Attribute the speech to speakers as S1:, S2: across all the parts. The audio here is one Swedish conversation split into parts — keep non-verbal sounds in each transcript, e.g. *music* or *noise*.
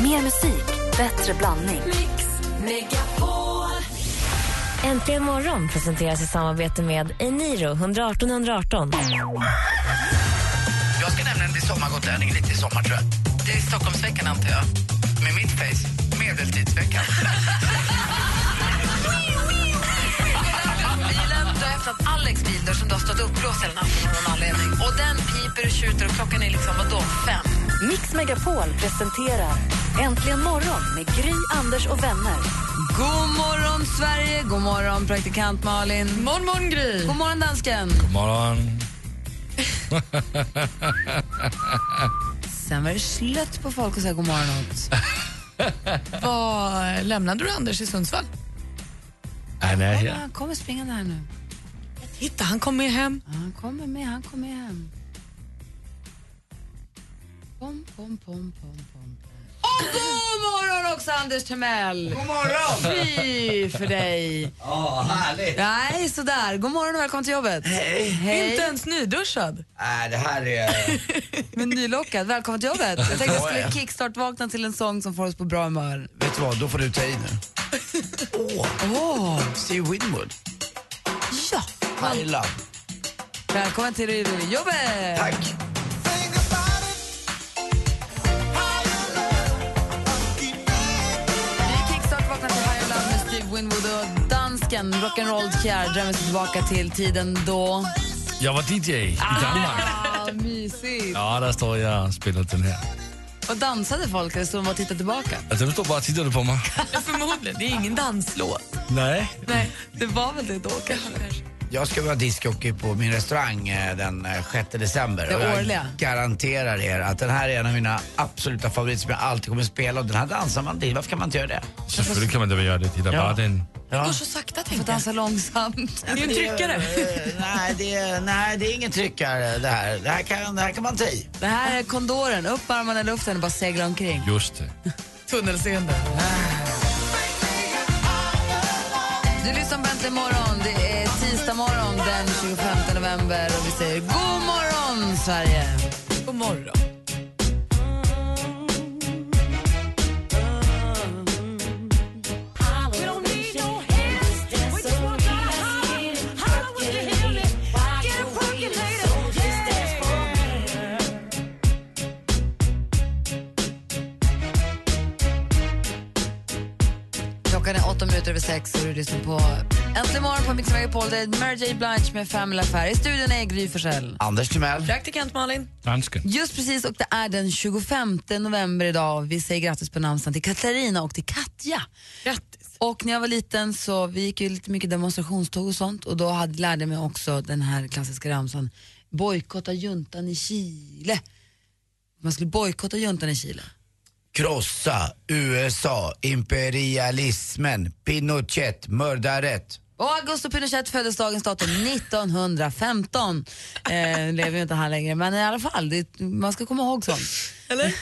S1: Mer musik, bättre blandning.
S2: Mix Megapol.
S3: Äntligen morgon presenteras i samarbete med Eniro 118 118.
S4: Jag ska nämligen bli sommargotlänning lite i sommar, tror jag.
S5: Det är Stockholmsveckan, antar jag.
S4: Med mitt face, medeltidsveckan.
S5: Bilen, du har öppnat Alex bil där som du har stått uppblåst hela natten av någon anledning. Och den piper och tjuter och klockan är liksom, vadå, fem?
S1: Mix Megapol presenterar Äntligen morgon med Gry, Anders och vänner.
S5: God morgon, Sverige! God morgon, praktikant Malin.
S6: Morgon, morgon, Gry.
S5: God morgon, dansken.
S7: God morgon.
S5: Sen var det slött på folk och säga god morgon åt.
S6: Vad lämnade du Anders i Sundsvall?
S7: Nej, nej,
S5: Ja, Han kommer springande här nu.
S6: Titta, han kom med hem.
S5: Ja, Han kommer med, han kommer hem. Pom, pom, pom, pom, pom. Och god morgon också, Anders Timell!
S4: God morgon!
S5: Fy för dig!
S4: Åh, härligt!
S5: Nej, sådär. God morgon och välkommen till jobbet. Hej. Hej.
S6: Inte ens nyduschad.
S4: Äh, det här
S7: *laughs*
S4: är...
S5: Men nylockad. Välkommen till jobbet. Jag tänkte jag skulle kickstart-vakna till en sång som får oss på bra humör.
S4: Vet du vad, då får du ta i nu. Åh,
S5: Åh,
S4: Steve Winwood.
S5: ja!
S4: I love.
S5: Välkommen till jobbet!
S4: Tack.
S5: Vi kickstart-vaknar till Highland med Steve Winwood och dansken rock'n'roll Kjär drömmer sig tillbaka till tiden då...
S7: Jag var DJ i Danmark.
S5: Ah, mysigt!
S7: Ja, där står jag och spelar den här.
S5: Och dansade folk eller stod de bara och tittade tillbaka?
S7: Alltså, de står bara och tittade på mig.
S6: Förmodligen. Det är ingen danslåt.
S7: Nej.
S6: Nej.
S5: Det var väl det då kanske?
S4: Jag ska vara diskjockey på min restaurang eh, den eh, 6 december.
S5: Det
S4: Och jag
S5: årliga.
S4: garanterar er att den här är en av mina absoluta favoriter som jag alltid kommer spela. Och den här dansar man till. Varför kan man inte göra det?
S7: Selvfølgelig kan man da göra det. Det er
S4: Ja.
S7: bare den...
S6: Det
S4: Ja.
S6: går så sakta,
S5: Får
S6: tänkte jag.
S5: dansa långsamt.
S6: Det är en tryckare.
S4: Eh, nej, det är, nej, det är ingen tryckare det här. Det här kan, det här kan man ta i.
S5: Det här är kondoren. Upp med armarna i luften och bara segla omkring.
S7: Just det.
S6: Tunnelseende.
S5: Du lyssnar på Äntligen morgon. Det är tisdag morgon den 25 november och vi säger god morgon, Sverige!
S6: God morgon.
S5: Klockan är åtta minuter över sex och du lyssnar på Äntligen morgon på Mix Megapol. Det är Mary J Blige med Family Affair. I studion är Gry Forssell.
S4: Anders Timell.
S6: Praktikant Malin.
S7: Dansken.
S5: Just precis, och det är den 25 november idag. Vi säger grattis på namnsdagen till Katarina och till Katja.
S6: Grattis.
S5: Och när jag var liten så vi gick ju lite mycket demonstrationståg och sånt och då hade, lärde jag mig också den här klassiska ramsan bojkotta juntan i Chile. Man skulle bojkotta juntan i Chile.
S4: Krossa USA, imperialismen, Pinochet, mördaret.
S5: Och Augusto Pinochet föddes dagens datum 1915. Eh, lever ju inte han längre, men i alla fall, det, man ska komma ihåg sånt.
S6: Eller?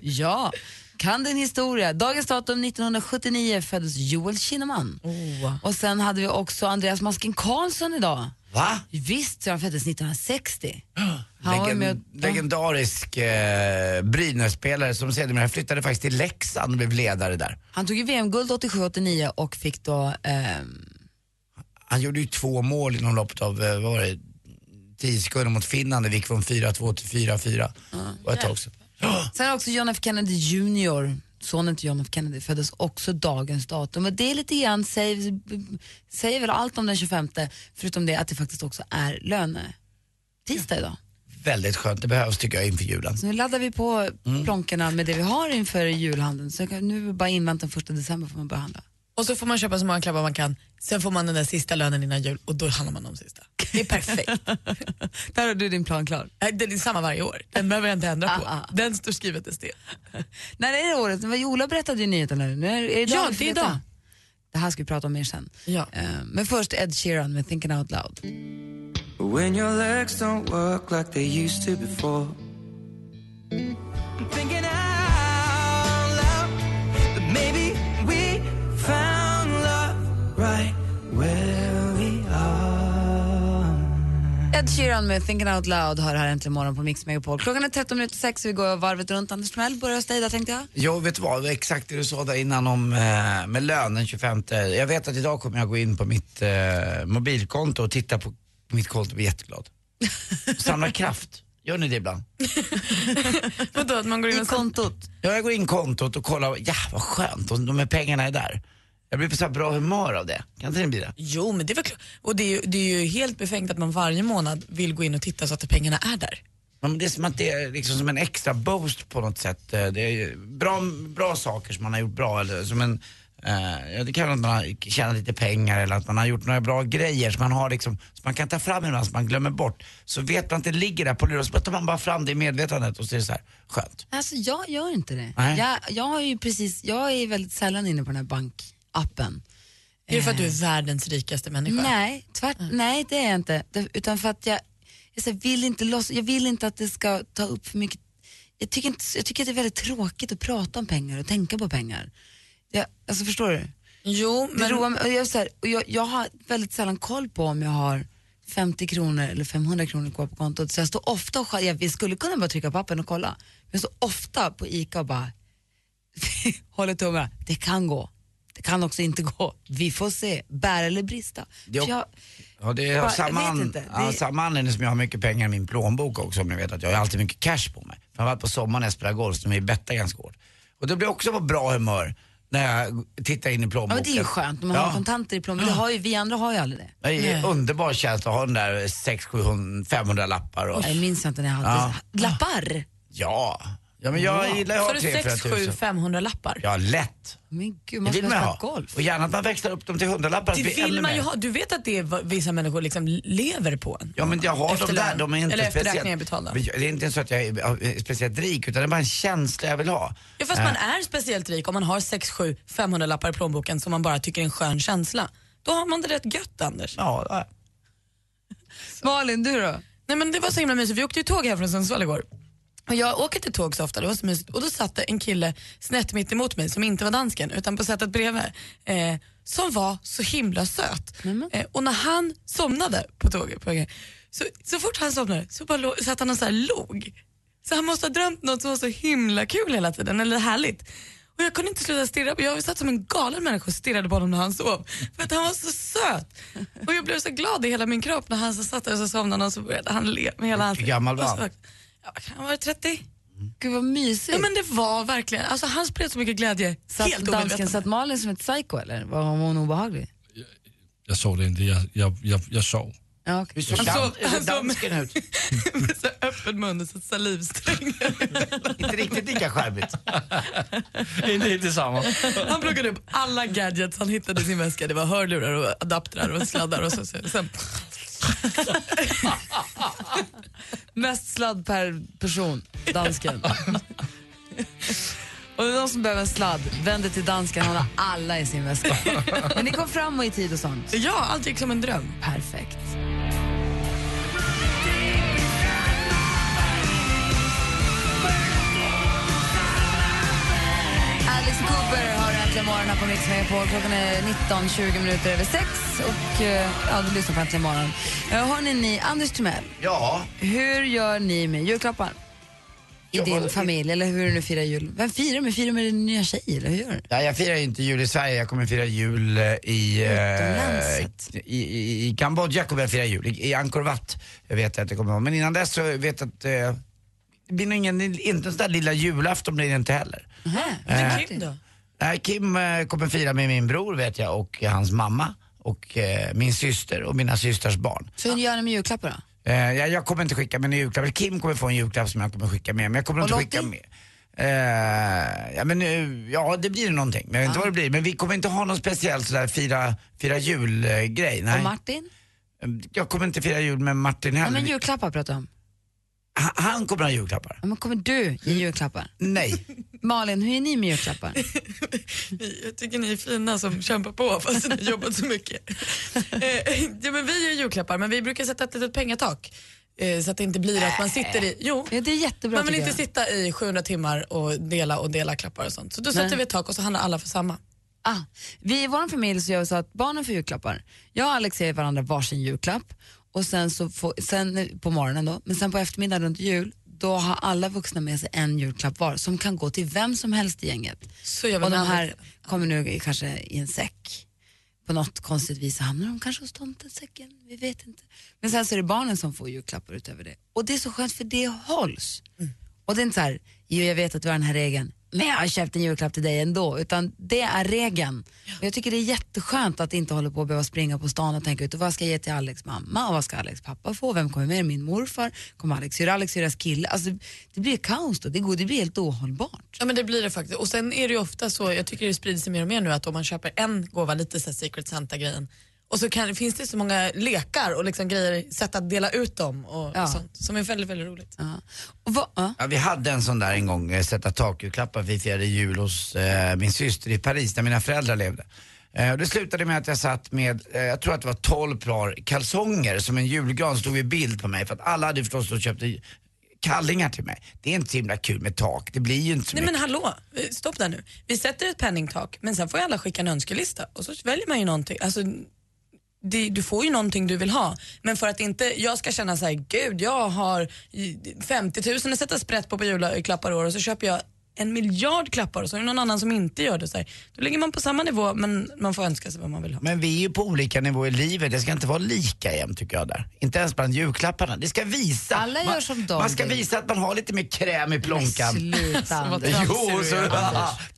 S5: *laughs* Ja, kan din historia. Dagens datum 1979 föddes Joel Kinnaman.
S4: Oh.
S5: Och sen hade vi också Andreas Masken Karlsson idag.
S4: Va?
S5: Visst, han föddes
S4: *gasps*
S5: 1960. Han var med
S4: Legend,
S5: och-
S4: legendarisk eh, Brynäs-spelare som sedermera flyttade faktiskt till Leksand och blev ledare där.
S5: Han tog ju VM-guld 87-89 och fick då... ehm,
S4: Han gjorde ju två mål inom loppet av, eh, vad var det, 10 sekunder mot Finland. Det gick från 4-2 till 4-4. Det var ett tag sedan.
S5: sen har också John F Kennedy Jr. Sonen till John F Kennedy föddes också dagens datum. Och det är lite grann, säger, säger väl allt om den 25 förutom det att det faktiskt också är löne tisdag idag.
S4: Väldigt skönt, det behövs tycker jag inför julen.
S5: Så nu laddar vi på plånkarna med det vi har inför julhandeln. Så jag kan- nu är det bara invänta den första december får man börja handla.
S6: Och så får man köpa så många klabbar man kan. Sen får man den där sista lönen innan jul och då handlar man om sista. Det är perfekt.
S5: Där har du din plan klar.
S6: *laughs* Nej, Den är samma varje år. Den behöver jag inte ändra
S5: Ah, ah.
S6: på. Den står skrivet i sten.
S5: När är det året? Det var- Ola berättade ju nyheten. Här. Nu är, är det idag
S6: Ja,
S5: vi får
S6: det är
S5: veta?
S6: idag.
S5: Det här ska vi prata om mer sen.
S6: Ja.
S5: Eh, Men först Ed Sheeran med Thinking Out Loud.
S8: When your legs don't work like they used to before. I'm thinking out loud that maybe we found love right where we are.
S5: Ed Ed Sheeran med Thinking Out Loud hör här äntligen morgon på Mix Megapol. Klockan är 13 minuter 6 vi går varvet runt. Anders Timell börjar hos dig där tänkte jag.
S4: Jag vet vad, det var exakt det du sa där innan om eh, med lön den 25. Jag vet att idag kommer jag gå in på mitt eh, mobilkonto och titta på mitt konto och bli jätteglad. Samla kraft. Gör ni det ibland?
S6: Vadå, att man går in
S5: I
S6: och sen...
S5: kontot.
S4: Ja, jag går in kontot och kollar, ja vad skönt, och de här pengarna är där. Jag blir på så här bra humör av det. Kan inte det bli det?
S6: Jo, men det är väl klart. Och det är, ju, det är ju helt befängt att man varje månad vill gå in och titta så att pengarna är där.
S4: Ja, men det är som att det är liksom som en extra boost på något sätt. Eh, Det är ju bra, bra saker som man har gjort bra eller som en eh, ja, det kan vara att man har tjänat lite pengar eller att man har gjort några bra grejer som man har liksom, som man kan ta fram ibland som man glömmer bort. Så vet man att det ligger där på luren så tar man bara fram det i medvetandet och så är det så här, skönt.
S5: Alltså jag gör inte det.
S4: Nej.
S5: Jag, jag, har ju precis, jag är väldigt sällan inne på den här bankappen.
S6: Är det för att du är världens rikaste människa?
S5: Nej, tvärt, nej det är jag inte. Det- Utan för att jag, jag så här, vill inte loss, jag vill inte att det ska ta upp för mycket. Jag tycker, inte, jag tycker att det är väldigt tråkigt att prata om pengar och tänka på pengar. Jag, alltså förstår du?
S6: Jo,
S5: Det
S6: men...
S5: roar mig, och jag, är så här, och jag, jag har väldigt sällan koll på om jag har 50 kronor eller 500 kronor kvar på kontot. Så jag står ofta och skär- jag, vi skulle kunna bara trycka på appen och kolla. Men jag står ofta på ICA och bara *laughs* håller tummarna. Det kan gå. Det kan också inte gå. Vi får se. Bär eller brista.
S4: Det är
S5: För jag,
S4: Ja, det
S5: Jag
S4: är
S5: bara-
S4: samma,
S5: jag vet
S4: an-
S5: inte.
S4: ja,
S5: Det-
S4: samma anledning som jag har mycket pengar i min plånbok också om ni vet att jag har alltid mycket cash på mig. Framförallt på sommaren när jag spelar golf som är betta ganska hårt. Och då blir jag också på bra humör när jag tittar in i
S5: ja,
S4: plånboken.
S5: men det är ju skönt när man har kontanter i plånboken. Det har ju, vi andra har ju aldrig det.
S4: Det är en underbar känsla att ha den där 6 700 500 lappar och,
S5: Jag minns inte när jag hade
S4: Ja.
S5: lappar.
S4: ja. ja, men jag gillar ju att
S6: Får
S4: ha
S6: du
S4: 3
S6: sex,
S4: 4
S6: sju,
S4: 000.
S6: 500 lappar?
S4: Ja, lätt.
S5: Men gud,
S4: Det
S5: man
S4: vill
S5: skulle
S4: man ju
S5: ha
S4: ha.
S5: spelat golf.
S4: Och gärna att man växlar upp dem till 100 lappar.
S6: Det vill man ju ha. Du vet att det är vad vissa människor liksom lever på en.
S4: Ja men jag har
S6: Efter
S4: de där,
S6: lön.
S4: de är inte
S6: Eller efter
S4: speciellt...
S6: räkningar betalda.
S4: Men jag- Det är inte så att jag är eh, speciellt rik utan det är bara en känsla jag vill ha.
S6: Ja, fast man är speciellt rik om man har 6, 7, 500 lappar i plånboken som man bara tycker är en skön känsla. Då har man det rätt gött Anders.
S4: Ja, ja.
S5: Malin, du då?
S6: Nej men det var så himla mysigt, vi åkte ju tåg här från Sundsvall igår. Och jag åker till tåg så ofta, det var så mysigt. Och då satt det en kille snett mitt emot mig som inte var dansken utan på sättet bredvid. Eh, som var så himla söt. Eh, och när han somnade på tåget, på vägen, så, så fort han somnade så bara lo- satt han och så här log. Så han måste ha drömt något som var så himla kul hela tiden, eller härligt. Och jag kunde inte sluta stirra på Jag satt som en galen människa och stirrade på honom när han sov. För att han var så söt. Och jag blev så glad i hela min kropp när han så satt där och så somnade och så började han le med hela ansiktet.
S4: gammal var
S6: Och så-
S4: han?
S6: Ja, Han var 30.
S5: Gud vad mysigt.
S6: Ja men det var verkligen, alltså han spred så mycket glädje.
S5: satt
S6: helt
S5: dansken,
S6: omedveten.
S5: satt Malin som ett psycho eller? Var hon obehaglig?
S7: Jag såg det inte, jag, jag, jag, jag sov.
S5: Ja, okay.
S4: Hur såg
S6: Han
S4: dan-
S6: sov-
S4: hur
S6: han
S4: såg
S6: sov-
S4: dansken ut?
S6: *laughs* med så öppen mun och
S5: *laughs*
S6: så salivsträngar.
S4: Inte riktigt lika charmigt.
S7: inte helt detsamma.
S6: Han plockade upp alla gadgets han hittade i sin väska. Det var hörlurar och adaptrar och sladdar och så. så sen,
S5: Mest sladd per person, dansken. Och är det någon som behöver en sladd, vänd dig till dansken. Han har alla i sin väska. Men ni kom fram och i tid och sånt.
S6: ja, allt gick som en dröm.
S5: Perfekt. Alice Cooper har Äntligen morgon här på Mix Megapol. Klockan är 19.20 minuter över sex. Och eh, ja, du lyssnar på Äntligen morgon. Eh, Hörni, ni, Anders Timell.
S4: Ja,
S5: Hur gör ni med julklappar? I
S4: Ja,
S5: din
S4: vad-
S5: familj, eller hur du nu firar jul. Vem firar du med? Firar du med din nya tjej, eller hur gör du?
S4: nej, jag firar ju inte jul i Sverige, jag kommer fira jul eh, i, eh,
S5: Utomlands.
S4: i, i, i Kambodja kommer jag fira jul, i, i Angkor Wat. Jag vet att det kommer vara. Men innan dess så vet jag att eh, det blir nog ingen, inte en sån där lilla julafton blir det inte heller.
S5: Eh.
S6: Men Kim då?
S4: Nej, Kim eh, kommer fira med min bror vet jag och eh, hans mamma och eh, min syster och mina systers barn.
S5: Så hur gör ni med julklappar då?
S4: Eh, jag, jag kommer inte skicka med en julklapp. Kim kommer få en julklapp som jag kommer skicka med. Men jag kommer
S5: Och
S4: inte
S5: Lottie?
S4: skicka med. Eh, ja, men, eh, ja, det blir någonting. Men jag vet inte vad det blir. Men vi kommer inte ha någon speciell sådär fira, fira jul-grej.
S5: Och
S4: Nej.
S5: Martin?
S4: Jag kommer inte fira jul med Martin
S5: Ja,
S4: heller.
S5: men julklappar pratar jag om.
S4: han, han kommer ha julklappar.
S5: Ja, men kommer du ge julklappar?
S4: Nej.
S5: Malin, hur är ni med julklappar?
S6: Ni- Jag tycker ni är fina som kämpar på fast ni har jobbat
S5: *laughs*
S6: så mycket. Eh, ja, men vi gör julklappar men vi brukar sätta ett litet pengatak. Eh, så att det inte blir att man sitter i... Jo,
S5: Ja, det är jättebra
S6: man vill
S5: tycker
S6: inte
S5: jag.
S6: sitta i 700 timmar och dela och dela klappar och sånt. Så då sätter vi ett tak och så handlar alla för samma.
S5: Ah, vi i vår familj så gör vi så att barnen får julklappar. Jag och Alex ger varandra varsin julklapp. Och och sen, så får, sen på morgonen då, men sen på eftermiddagen runt jul, då har alla vuxna med sig en julklapp var som kan gå till vem som helst i gänget.
S6: Så gör vi
S5: och de
S6: med
S5: här
S6: Alex.
S5: kommer nu i- kanske i en säck. På något konstigt vis så hamnar de kanske hos tomten, säcken, vi vet inte. Men sen så är det barnen som får julklappar utöver det. Och det är så skönt för det hålls. Och det är inte så här, jo jag vet att du har den här regeln, men jag har köpt en julklapp till dig ändå. Utan det är regeln. Och jag tycker det är jätteskönt att inte hålla på och behöva springa på stan och tänka ut vad ska jag ge till Alex mamma och vad ska Alex pappa få, vem kommer med, min morfar, kommer Alex syrra, Alex syrras kille. Alltså, det blir kaos då, det, går, det blir helt ohållbart.
S6: Ja men det blir det faktiskt. Och sen är det ju ofta så, jag tycker det sprider sig mer och mer nu att om man köper en gåva, lite så här Secret Santa-grejen, och så kan, finns det så många lekar och liksom grejer, sätt att dela ut dem och
S5: Ja.
S6: sånt som är väldigt, väldigt roligt.
S5: Ja. Och vad, ja.
S4: Ja, vi hade en sån där en gång, eh, sätta takjulklappar. Vi firade jul hos eh, min syster i Paris där mina föräldrar levde. Eh, och det slutade med att jag satt med, eh, jag tror att det var 12 par kalsonger som en julgran stod i bild på mig för att alla hade förstås då köpt i- kallingar till mig. Det är inte så himla kul med tak, det blir ju inte så
S6: Nej
S4: mycket.
S6: men hallå, eh, stopp där nu. Vi sätter ett penningtak men sen får ju alla skicka en önskelista och så väljer man ju någonting. Alltså, det, du får ju någonting du vill ha. Men för att inte jag ska känna så här, gud jag har i- 50 000 att sätta sprätt på på julklappar i år och så köper jag en miljard klappar och så är det någon annan som inte gör det. Så här. Då ligger man på samma nivå men man får önska sig vad man vill ha.
S4: Men vi är ju på olika nivåer i livet, det ska inte vara lika jämnt tycker jag där. Inte ens bland julklapparna. Det ska visa.
S5: Alla
S4: man,
S5: gör som de
S4: Man ska
S5: vill.
S4: visa att man har lite mer kräm i plånkan.
S5: Sluta Anders.
S4: Jo, så, *laughs*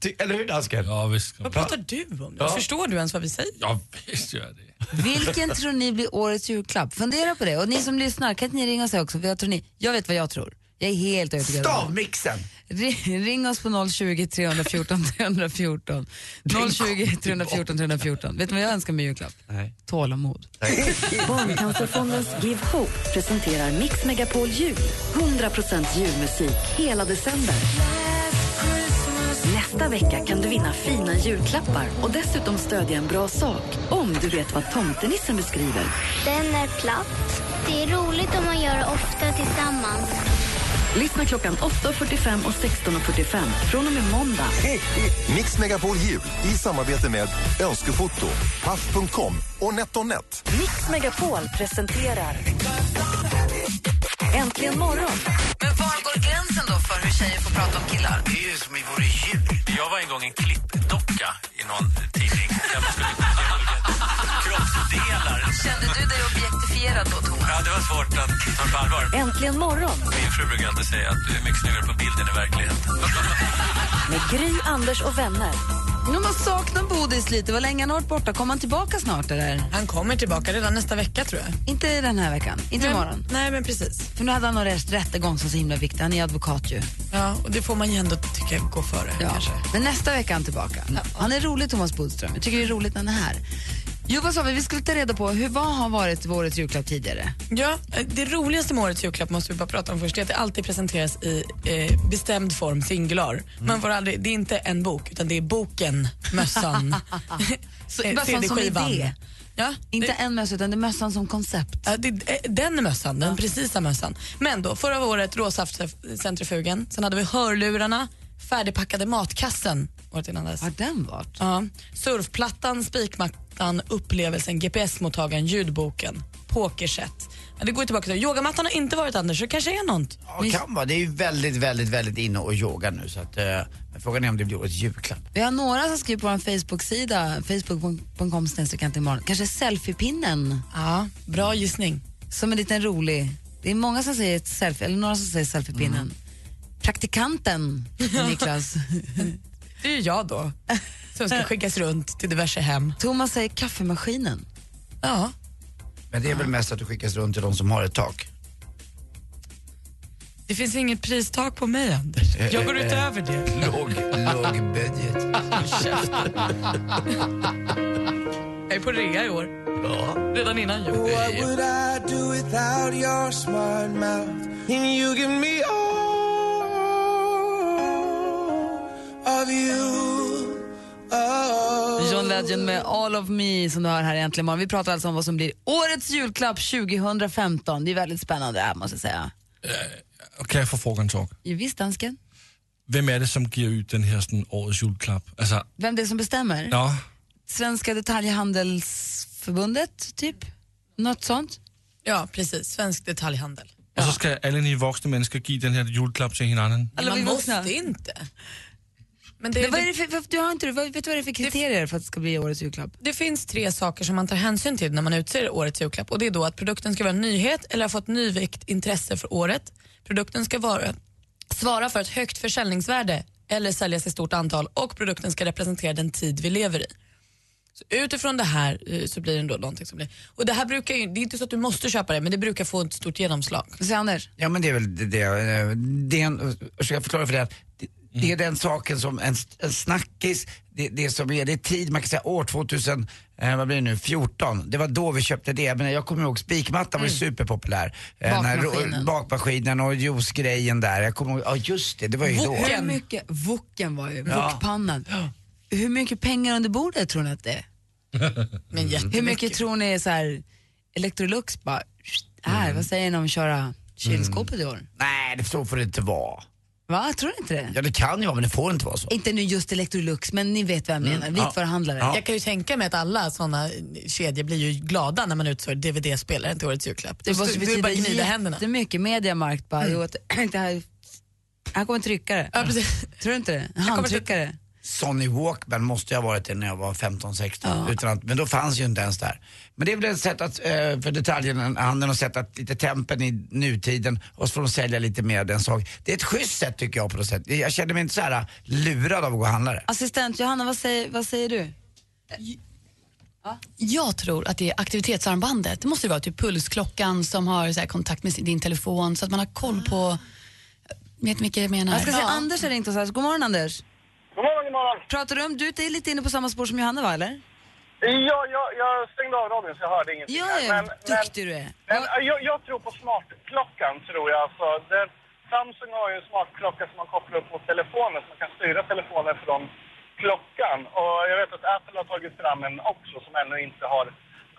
S4: Ty- eller hur dansken?
S7: Ja, visst.
S6: Vad pratar du om? nu? Förstår du ens vad vi säger?
S7: Ja, visst gör jag det.
S5: Vilken tror ni blir årets julklapp? Fundera på det. Och ni som lyssnar, kan inte ni ringa oss också? För jag, tror ni, jag vet vad jag tror. Jag är helt övertygad. om det.
S4: Stavmixen!
S5: Ring, ring oss på 020 314 314. 020 314 314. Vet du vad jag önskar mig i julklapp?
S4: Nej.
S5: Tålamod.
S1: Barncancerfondens Give Hope presenterar Mix Megapol Jul. 100% julmusik hela december. Nästa vecka kan du vinna fina julklappar och dessutom stödja en bra sak om du vet vad tomtenissen beskriver.
S9: Den är platt. Det är roligt om man gör det ofta tillsammans.
S1: Lyssna klockan 8.45 och 16.45 från och med måndag.
S10: Mix Megapol Jul i samarbete med Önskefoto, Paff.com och NetOnNet.
S1: Mix Megapol presenterar Äntligen morgon
S5: Men var går gränsen då för hur tjejer får prata om killar?
S4: Det är ju som i våra djur.
S11: Jag var en gång en klippdocka i någon tidning. Där man skulle kroppsdelar.
S5: Kände du dig objektifierad då, Thomas?
S11: Ja, det var svårt att ta på allvar.
S1: Äntligen morgon
S11: Min fru brukar alltid säga att du är mycket snyggare på bilden i verkligheten.
S1: med Gry, Anders och vänner.
S5: Nu man saknar Bodis lite. Vad länge han har varit borta. Kommer han tillbaka snart eller?
S6: Han kommer tillbaka redan nästa vecka tror jag.
S5: Inte den här veckan. Inte imorgon.
S6: Nej men precis.
S5: För nu hade han någon rest- rättegång som är så himla viktig. Han är advokat ju.
S6: Ja, och det får man ju ändå tycka gå före
S5: Ja.
S6: kanske.
S5: Men nästa vecka är han tillbaka. Han är rolig, Thomas Bodström. Jag tycker det är roligt när han är här. Jo, vad sa vi? Vi skulle ta reda på hur vad har varit vårets julklapp tidigare.
S6: Ja, eh, det roligaste med årets julklapp måste vi bara prata om först. Det är att det alltid presenteras i eh, bestämd form, singular.
S5: Mm.
S6: Man får aldrig, det är inte en bok, utan det är boken, mössan,
S5: *laughs* Så,
S6: eh,
S5: vad fan som
S6: CD-skivan.
S5: idé?
S6: Ja,
S5: Inte
S6: det,
S5: en mössa, utan det är mössan som koncept.
S6: ja, det, eh, den mössan, den precisa mössan. Men då, förra året råsaftcentrifugen, sen hade vi hörlurarna, färdigpackade matkassen året innan dess.
S5: Har den varit?
S6: Ja. Surfplattan, spikmattan, upplevelsen, GPS-mottagaren, ljudboken, pokerset. Ja, det går ju tillbaka till yogamattan har inte varit Anders, så det kanske är något.
S4: Ja, kan vara. Det är ju väldigt, väldigt, väldigt inne och yoga nu så att eh, men frågan är om det blir årets julklapp.
S5: Vi har några som skriver på vår Facebook-sida, facebook.com snedstreck imorgon. Kanske selfiepinnen
S6: Ja, bra gissning.
S5: som en liten rolig. Det är många som säger selfie, eller några som säger selfiepinnen. Praktikanten, Niklas.
S6: Det är ju jag då, som *laughs* ska skickas runt till diverse hem.
S5: Thomas säger kaffemaskinen.
S6: Ja.
S4: Men det är väl mest att du skickas runt till de som har ett tak.
S6: Det finns inget pristak på mig Anders. Jag går utöver det.
S4: Låg, låg budget.
S6: Jag är på rea i år,
S4: Ja.
S6: redan innan jul.
S8: What would I do without your smart mouth? And you give me all of you. Oh.
S5: John Legend med All of me som du hör här egentligen imorgon. Vi pratar alltså om vad som blir årets julklapp 2015. Det är väldigt spännande det här måste jag säga.
S7: Och kan jag få frågan tak?
S5: Jo, Visst dansken?
S7: Vem är det som ger ut den här sådan, årets julklapp? Alltså,
S5: Vem det är som bestämmer?
S7: ja.
S5: Svenska detaljhandelsförbundet typ? Något sånt?
S6: Ja, precis. Svensk detaljhandel.
S7: Og så skal alle ni voksne mennesker give den her juleklap til hinanden.
S6: Eller vi måste inte. Men det,
S5: Men vad är det för, vad- du har inte, vad, vet du vad det är för kriterier för att det ska bli årets julklapp?
S6: Det finns tre saker som man tar hänsyn till när man utser årets julklapp och det är då att produkten ska vara en nyhet eller ha fått nyväckt intresse för året. Produkten ska vara, svara för ett högt försäljningsvärde eller säljas i stort antal och produkten ska representera den tid vi lever i. Så utifrån det här eh, så blir det ändå någonting som blir... Och det här brukar ju, det är inte så att du måste köpa det men det brukar få ett stort genomslag.
S5: Så Anders?
S4: Ja men det är väl det, det, eh, det är en, ska jag förklara för dig att det, det är den saken som en, en snackis, det, det som är, det är tid, man kan säga år 2000, eh, vad blir det nu, 14, det var då vi köpte det. Men jag kommer ihåg spikmattan var ju superpopulär. Eh, när ro-
S5: Bakmaskinen.
S4: Mm. bakmaskinen och juicegrejen där, jag kommer ihåg, ja just det, det var ju då.
S5: Hur mycket, Woken var ju,
S4: Ja.
S5: Wokpannan. Hur mycket pengar under bordet tror ni att det är?
S6: Men jättemycket.
S5: Hur mycket tror ni är så här, Electrolux bara, "Psst, här, vad säger ni om att köra kylskåpet i år?
S4: Nej, det så får det inte vara.
S5: Va, tror du inte det?
S4: Ja det kan ju vara men det får inte vara så.
S5: Inte nu just Electrolux, men ni vet vad jag menar,
S4: Mm, ja.
S5: vitvaruhandlare.
S4: Ja.
S6: Jag kan ju tänka mig att alla sådana kedjor blir ju glada när man utser DVD-spelaren till årets julklapp.
S5: Det
S6: Då
S5: måste
S6: står- då är det bara att gnida
S5: betyda
S6: händerna. Mm.
S5: jättemycket. Mediamarkt bara, jo, att- *clears throat* det här, här kommer en tryckare.
S6: Ja, precis.
S5: Tror du inte det? Handtryckare.
S4: Sonny Walkman måste jag ha varit det när jag var 15-16. Utan att, men då fanns ju inte ens där. Men det är väl ett sätt att, eh, för detaljhandeln att sätta lite tempen i nutiden och så får de sälja lite mer den sak. Det är ett schysst sätt tycker jag på något sätt. Jag känner mig inte så här eh, lurad av att gå och handla det.
S5: Assistent Johanna, vad säger, vad säger du?
S12: Jag tror att det är aktivitetsarmbandet. Det måste ju vara typ pulsklockan som har så här kontakt med sin- din telefon så att man har koll
S6: Ah.
S12: på... eh, Vet ni vilka jag menar?
S5: Jag ska se, Anders har ringt oss här. God morgon Anders.
S13: God morgon, god morgon.
S5: Pratar du om, du är lite inne på samma spår som Johanna va, eller?
S13: Ja, jag, jag stängde av radion så jag hörde ingenting.
S5: Ja,
S13: här.
S5: ja, duktig du är.
S13: Men, eh, jag, jag tror på smartklockan, tror jag. Alltså, den, Samsung har ju en smartklocka som man kopplar upp mot telefonen, så man kan styra telefonen från klockan. Och jag vet att Apple har tagit fram en också som ännu inte har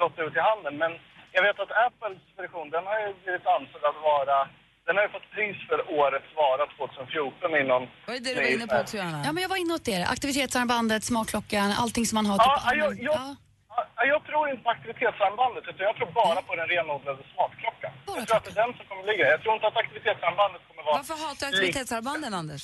S13: gått ut i handeln. Men jag vet att Apples version, den har ju blivit ansedd att vara... Den har ju fått pris för årets vara 2014 inom...
S5: Vad är
S12: det du var inne på också,
S5: Johanna?
S12: Ja, men jag var inne åt det. Aktivitetsarmbandet, smartklockan, allting som man har. Typ,
S13: Ja, jag, jag, ja, jag tror inte på aktivitetsarmbandet, utan jag tror bara på den renodlade smartklockan. Jag tror att det är den som kommer ligga. Jag tror inte att aktivitetsarmbandet kommer vara...
S5: Varför hatar du aktivitetsarmbanden Anders?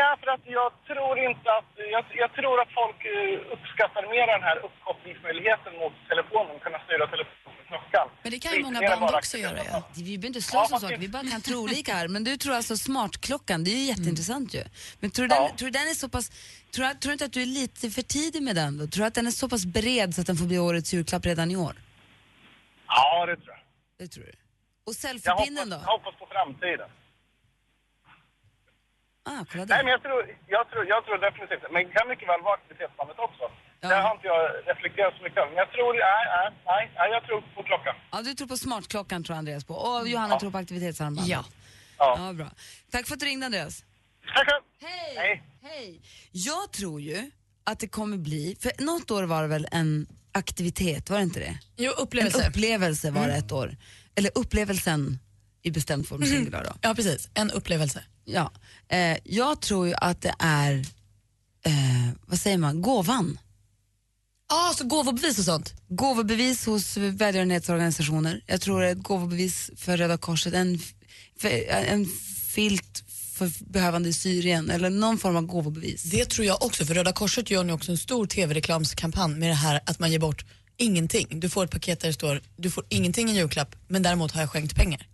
S13: Ja, för att jag tror inte att... Jag, jag tror att folk eh, uppskattar mer den här uppkopplingsmöjligheten mot telefonen, kunna styra telefonen med klockan.
S12: Men det
S5: kan ju
S13: Lite
S5: många
S13: mer
S5: band
S13: bara
S5: också göra,
S13: aktivitetsarmband.
S5: Vi behöver inte slå oss om saker, vi bara kan tro olika här. Men du tror alltså smartklockan, det är ju
S13: Mm.
S5: jätteintressant ju. Men tror du den, tror du den är så pass, tror, du- tror du inte att du är lite för tidig med den då? Tror du att den är så pass bred så att den får bli årets julklapp redan i år?
S13: Ja, det tror jag.
S5: Det tror du? Och selfiepinnen
S13: jag
S5: då?
S13: hoppas, Jag hoppas på framtiden.
S5: Ah, kolla
S13: Nej, men jag tror, jag tror, jag tror definitivt Men det kan mycket väl vara aktivitetsbandet också. Det har inte jag reflekterat så mycket över. Men jag tror, nej, nej, nej, nej, jag tror på klockan.
S5: Ja, du tror på smartklockan tror Andreas på. Och Johanna tror på aktivitetsarmbandet. Ja.
S13: Ja.
S5: bra. Tack för att du ringde Andreas. Hej! Hej! Jag tror ju att det kommer bli, för något år var det väl en aktivitet, var det inte det?
S6: Jo, upplevelse.
S5: En upplevelse var det
S4: Mm.
S5: ett år. Eller upplevelsen i bestämd form
S4: Mm-hmm.
S5: singular då.
S6: Ja, precis. En upplevelse.
S5: Ja. Eh, jag tror ju att det är, eh, vad säger man, gåvan.
S6: Ja, så gåvobevis och sånt?
S5: Gåvobevis hos välgörenhetsorganisationer. Jag tror ett gåvobevis för Röda Korset, en, f- för, eh, en filt för behövande i Syrien eller någon form av gåvobevis.
S6: Det tror jag också, för Röda Korset gör nu också en stor tv-reklamskampanj med det här att man ger bort ingenting. Du får ett paket där det står du får ingenting i julklapp, men däremot har jag skänkt pengar.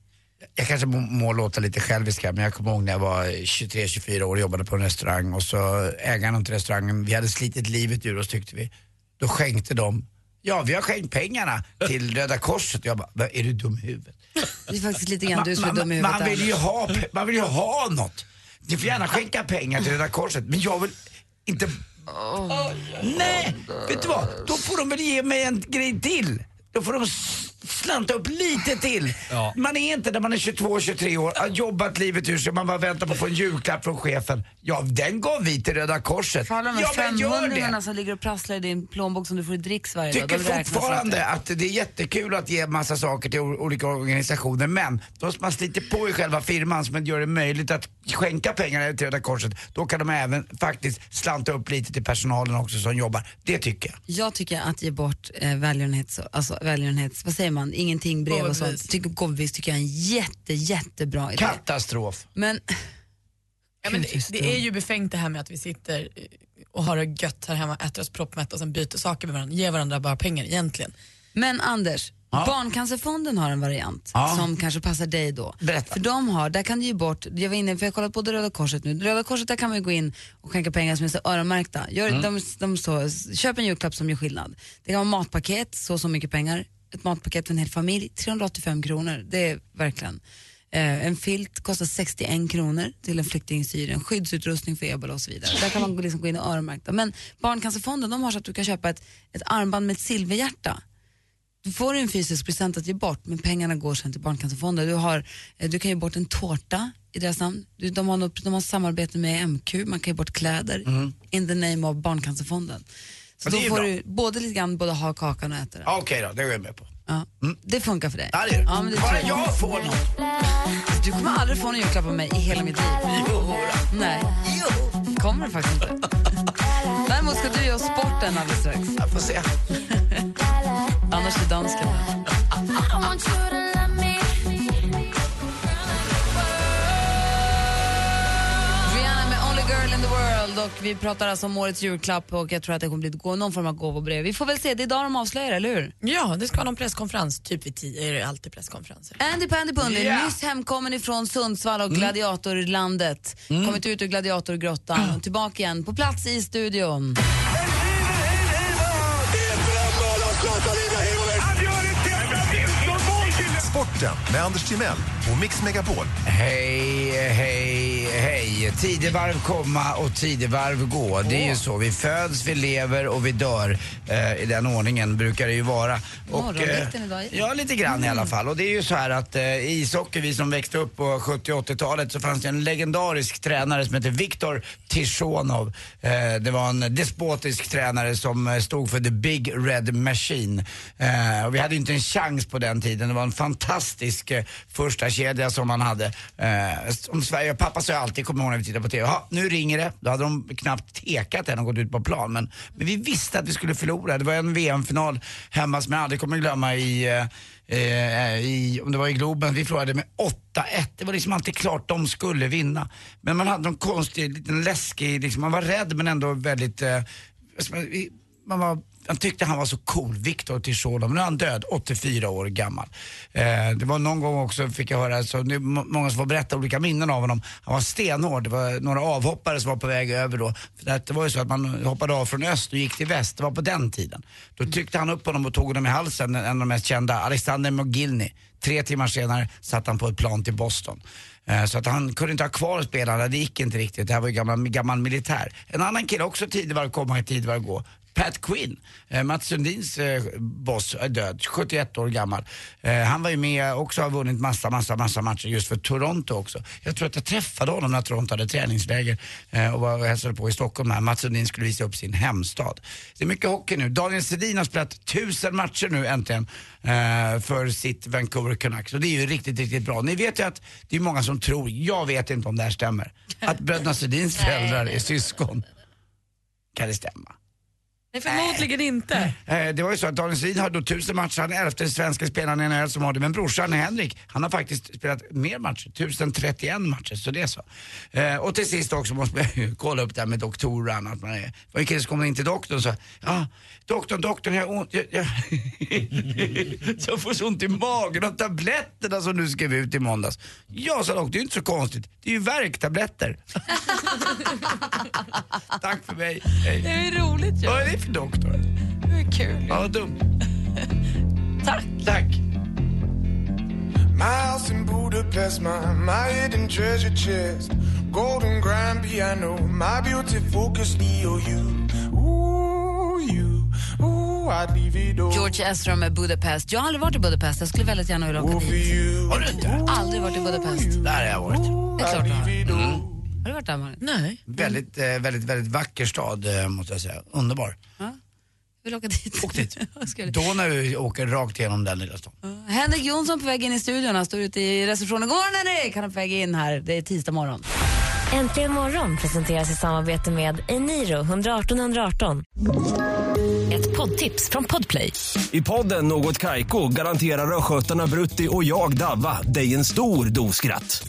S4: Jag kanske må, må låta lite självisk här, men jag kommer ihåg när jag var 23-24 år och jobbade på en restaurang och så ägaren till restaurangen, vi hade slitit livet ur oss tyckte vi. Då skänkte de, ja vi har skänkt pengarna till Röda Korset. Jag bara, "Vad, är du dum i huvudet?
S5: Det är faktiskt lite grann du som är
S4: Man-
S5: dum i
S4: man-
S5: huvudet.
S4: Man vill, ju
S5: Anders.
S4: ha, pe- man vill ju ha något. Ni får gärna skänka pengar till Röda Korset, men jag vill inte... Nej, vet du vad? Då får de väl ge mig en grej till. Då får de s- slanta upp lite till.
S7: Ja.
S4: Man är inte när man är 22-23 år, har jobbat livet ur sig, man bara väntar på att få en julklapp från chefen. Ja, den gav vi till Röda Korset.
S5: Alla de
S4: Ja, men gör det!
S5: femhundringarna som ligger och prasslar i din plånbok som du får i dricks varje
S4: tycker
S5: dag. de räknas inte.
S4: fortfarande att det är jättekul att ge massa saker till o- olika organisationer men då man sliter på i själva firman som gör det möjligt att skänka pengarna till Röda Korset då kan de även faktiskt slanta upp lite till personalen också som jobbar. Det tycker jag.
S5: Jag tycker att ge bort eh, välgörenhets, alltså välgörenhets, vad säger man, ingenting brev och sånt. Tycker, gåvobevis tycker jag är en jätte, jättebra idé.
S4: Katastrof.
S5: Men
S6: Ja, men det, det är ju befängt det här med att vi sitter eh, och har det gött här hemma, äter oss proppmätta och sen byter saker med varandra, ger varandra bara pengar egentligen.
S5: Men Anders, Barncancerfonden har en variant
S6: Ja.
S5: som kanske passar dig då. För de har, där kan du ju bort, jag var inne, för jag har kollat på det Röda Korset nu, Röda Korset där kan man ju gå in och skänka pengar som är så öronmärkta. Gör,
S12: Mm.
S5: de, de så, köp en julklapp som gör skillnad. Det kan vara matpaket, så och så mycket pengar, ett matpaket för en hel familj, 385 kronor, det är verkligen. Eh, en filt kostar 61 kronor till en flykting i Syrien, skyddsutrustning för ebola och så vidare. Där kan man gå- liksom gå in och öronmärka. Men Barncancerfonden de har så att du kan köpa ett, ett armband med ett silverhjärta. Du får en fysisk present att ge bort men pengarna går sen till Barncancerfonden. Du, har, eh, du kan ge bort en tårta i deras namn. Du, de, har något, de har samarbete med MQ, man kan ge bort kläder
S4: Mm.
S5: in the name of Barncancerfonden. Så
S4: Ja,
S5: då
S4: det är ju
S5: får
S4: bra.
S5: du både lite grann både ha kakan och äta den.
S4: Ja, Okej då, det går jag med på.
S5: Ja. Det funkar för dig?
S4: Ja, det är det.
S5: Ja, men det
S4: Bara
S5: tror jag.
S4: jag får något.
S5: Du kommer aldrig få en julklapp av mig i hela mitt liv. Nej. Jo. kommer du faktiskt inte. Däremot ska du göra sporten alldeles strax.
S4: Jag får se.
S5: Annars är dansken här. Rihanna med Only Girl in the World och vi pratar alltså om årets julklapp och jag tror att det kommer bli ett gå- någon form av gåvobrev. Vi får väl se, det är idag de avslöjar eller hur?
S6: Ja, det ska vara någon presskonferens, typ vid tio är det alltid presskonferenser.
S5: Andy Pandy Pundy,
S6: Yeah.
S5: nyss hemkommen ifrån Sundsvall och gladiatorlandet. Kommit ut ur gladiatorgrottan och tillbaka igen på plats i studion.
S10: Sporten med Anders Timell och Mix Megapol.
S4: Hej, hej, hej. Tidevarv komma och tidevarv gå. Det är ju så. Vi föds, vi lever och vi dör. Eh, I den ordningen brukar det ju vara. Och, eh,
S5: Morgonvikten idag.
S4: ja, lite grann i alla fall. Och det är ju så här att eh, i ishockey, vi som växte upp på 70 och 80-talet, så fanns det en legendarisk tränare som hette Viktor Tichonov. Eh, det var en despotisk tränare som eh, stod för The Big Red Machine. Eh, och vi hade ju inte en chans på den tiden. Det var en fantastisk eh, första kedja som man hade. Eh, som Sverige, pappa sa ju alltid, kommer jag ihåg när vi tittade på TV, "Ja, nu ringer det. Då hade de knappt tekat än och gått ut på plan. Men, men vi visste att vi skulle förlora. Det var en VM-final hemma som jag aldrig kommer glömma i, eh, eh, i, om det var i Globen, vi förlorade med 8-1. Det var liksom alltid klart de skulle vinna. Men man hade någon konstig, liten läskig, liksom, man var rädd men ändå väldigt, eh, alltså, man- vi- man var han tyckte han var så cool, Viktor Tichonov. Nu är han död, 84 år gammal. Eh, det var någon gång också, fick jag höra, så det är må- många som får berätta olika minnen av honom. Han var stenhård, det var några avhoppare som var på väg över då. För att det var ju så att man hoppade av från öst och gick till väst, det var på den tiden. Då tryckte han upp honom och tog honom i halsen, en av de mest kända, Alexander Mogilny. Tre timmar senare satt han på ett plan till Boston. Eh, Så att han kunde inte ha kvar spelarna, det gick inte riktigt. Det här var ju gammal, gammal militär. En annan kille också tidigare komma, tidigare gå. Pat Quinn, eh, Mats Sundins eh, boss, är död, 71 år gammal. Eh, han var ju med också har vunnit massa, massa, massa matcher just för Toronto också. Jag tror att jag träffade honom när Toronto hade träningsläger eh, och var och hälsade på i Stockholm här. Mats Sundin skulle visa upp sin hemstad. Det är mycket hockey nu. Daniel Sedin har spelat tusen matcher nu äntligen eh, för sitt Vancouver Canucks och det är ju riktigt, riktigt bra. Ni vet ju att det är många som tror, jag vet inte om det här stämmer, att bröderna Sedins föräldrar är syskon. Kan det stämma?
S6: Nej, förmodligen inte.
S4: Eh, Det var ju så att Daniel Sedin har då tusen matcher, han är elfte svenska spelaren i NHL som har det. Men brorsan Henrik, han har faktiskt spelat mer matcher, 1031 matcher, så det är så. Eh, Och till sist också måste man ju kolla upp det här med doktorn, att man är... Det var en kille som kom in till doktorn och sa, ja, doktorn, doktorn, jag har ont, jag, *laughs* jag, jag får så ont i magen av tabletterna som du skrev ut i måndags. Ja, sa doktorn, det är ju inte så konstigt, det är ju värktabletter. *laughs* Tack för mig, hej.
S6: Det är ju roligt ju.
S4: Vad är det för doktor?
S6: Det är kul.
S4: Ja, vad dumt.
S6: Tack.
S4: Tack.
S14: My house in Budapest, my, my hidden treasure chest. Golden grand piano, my beauty focus, EOU. Ooh, you, ooh, I'd leave it all.
S5: George Ezra med Budapest. Jag har aldrig varit i Budapest, jag skulle väldigt gärna vilja åka dit.
S4: Har du inte?
S5: Aldrig varit i Budapest.
S4: Där har jag varit.
S5: Det är klart du har. Mm. Har du varit där, Malin?
S6: Nej.
S4: Väldigt, eh, väldigt, väldigt vacker stad eh, måste jag säga. Underbar.
S5: Vill åka dit?
S4: Åk dit. Då när vi åker rakt igenom den lilla stan.
S5: Henrik Jonsson på väg in i studion. Han står ute i receptionen. God morgon Henrik! Han är på väg in här. Det är tisdag morgon.
S3: Äntligen morgon presenteras i samarbete med Eniro 118 118. Ett
S5: poddtips från Podplay.
S4: I podden Något Kaiko garanterar östgötarna Brutti och jag, Davva, dig en stor dos skratt.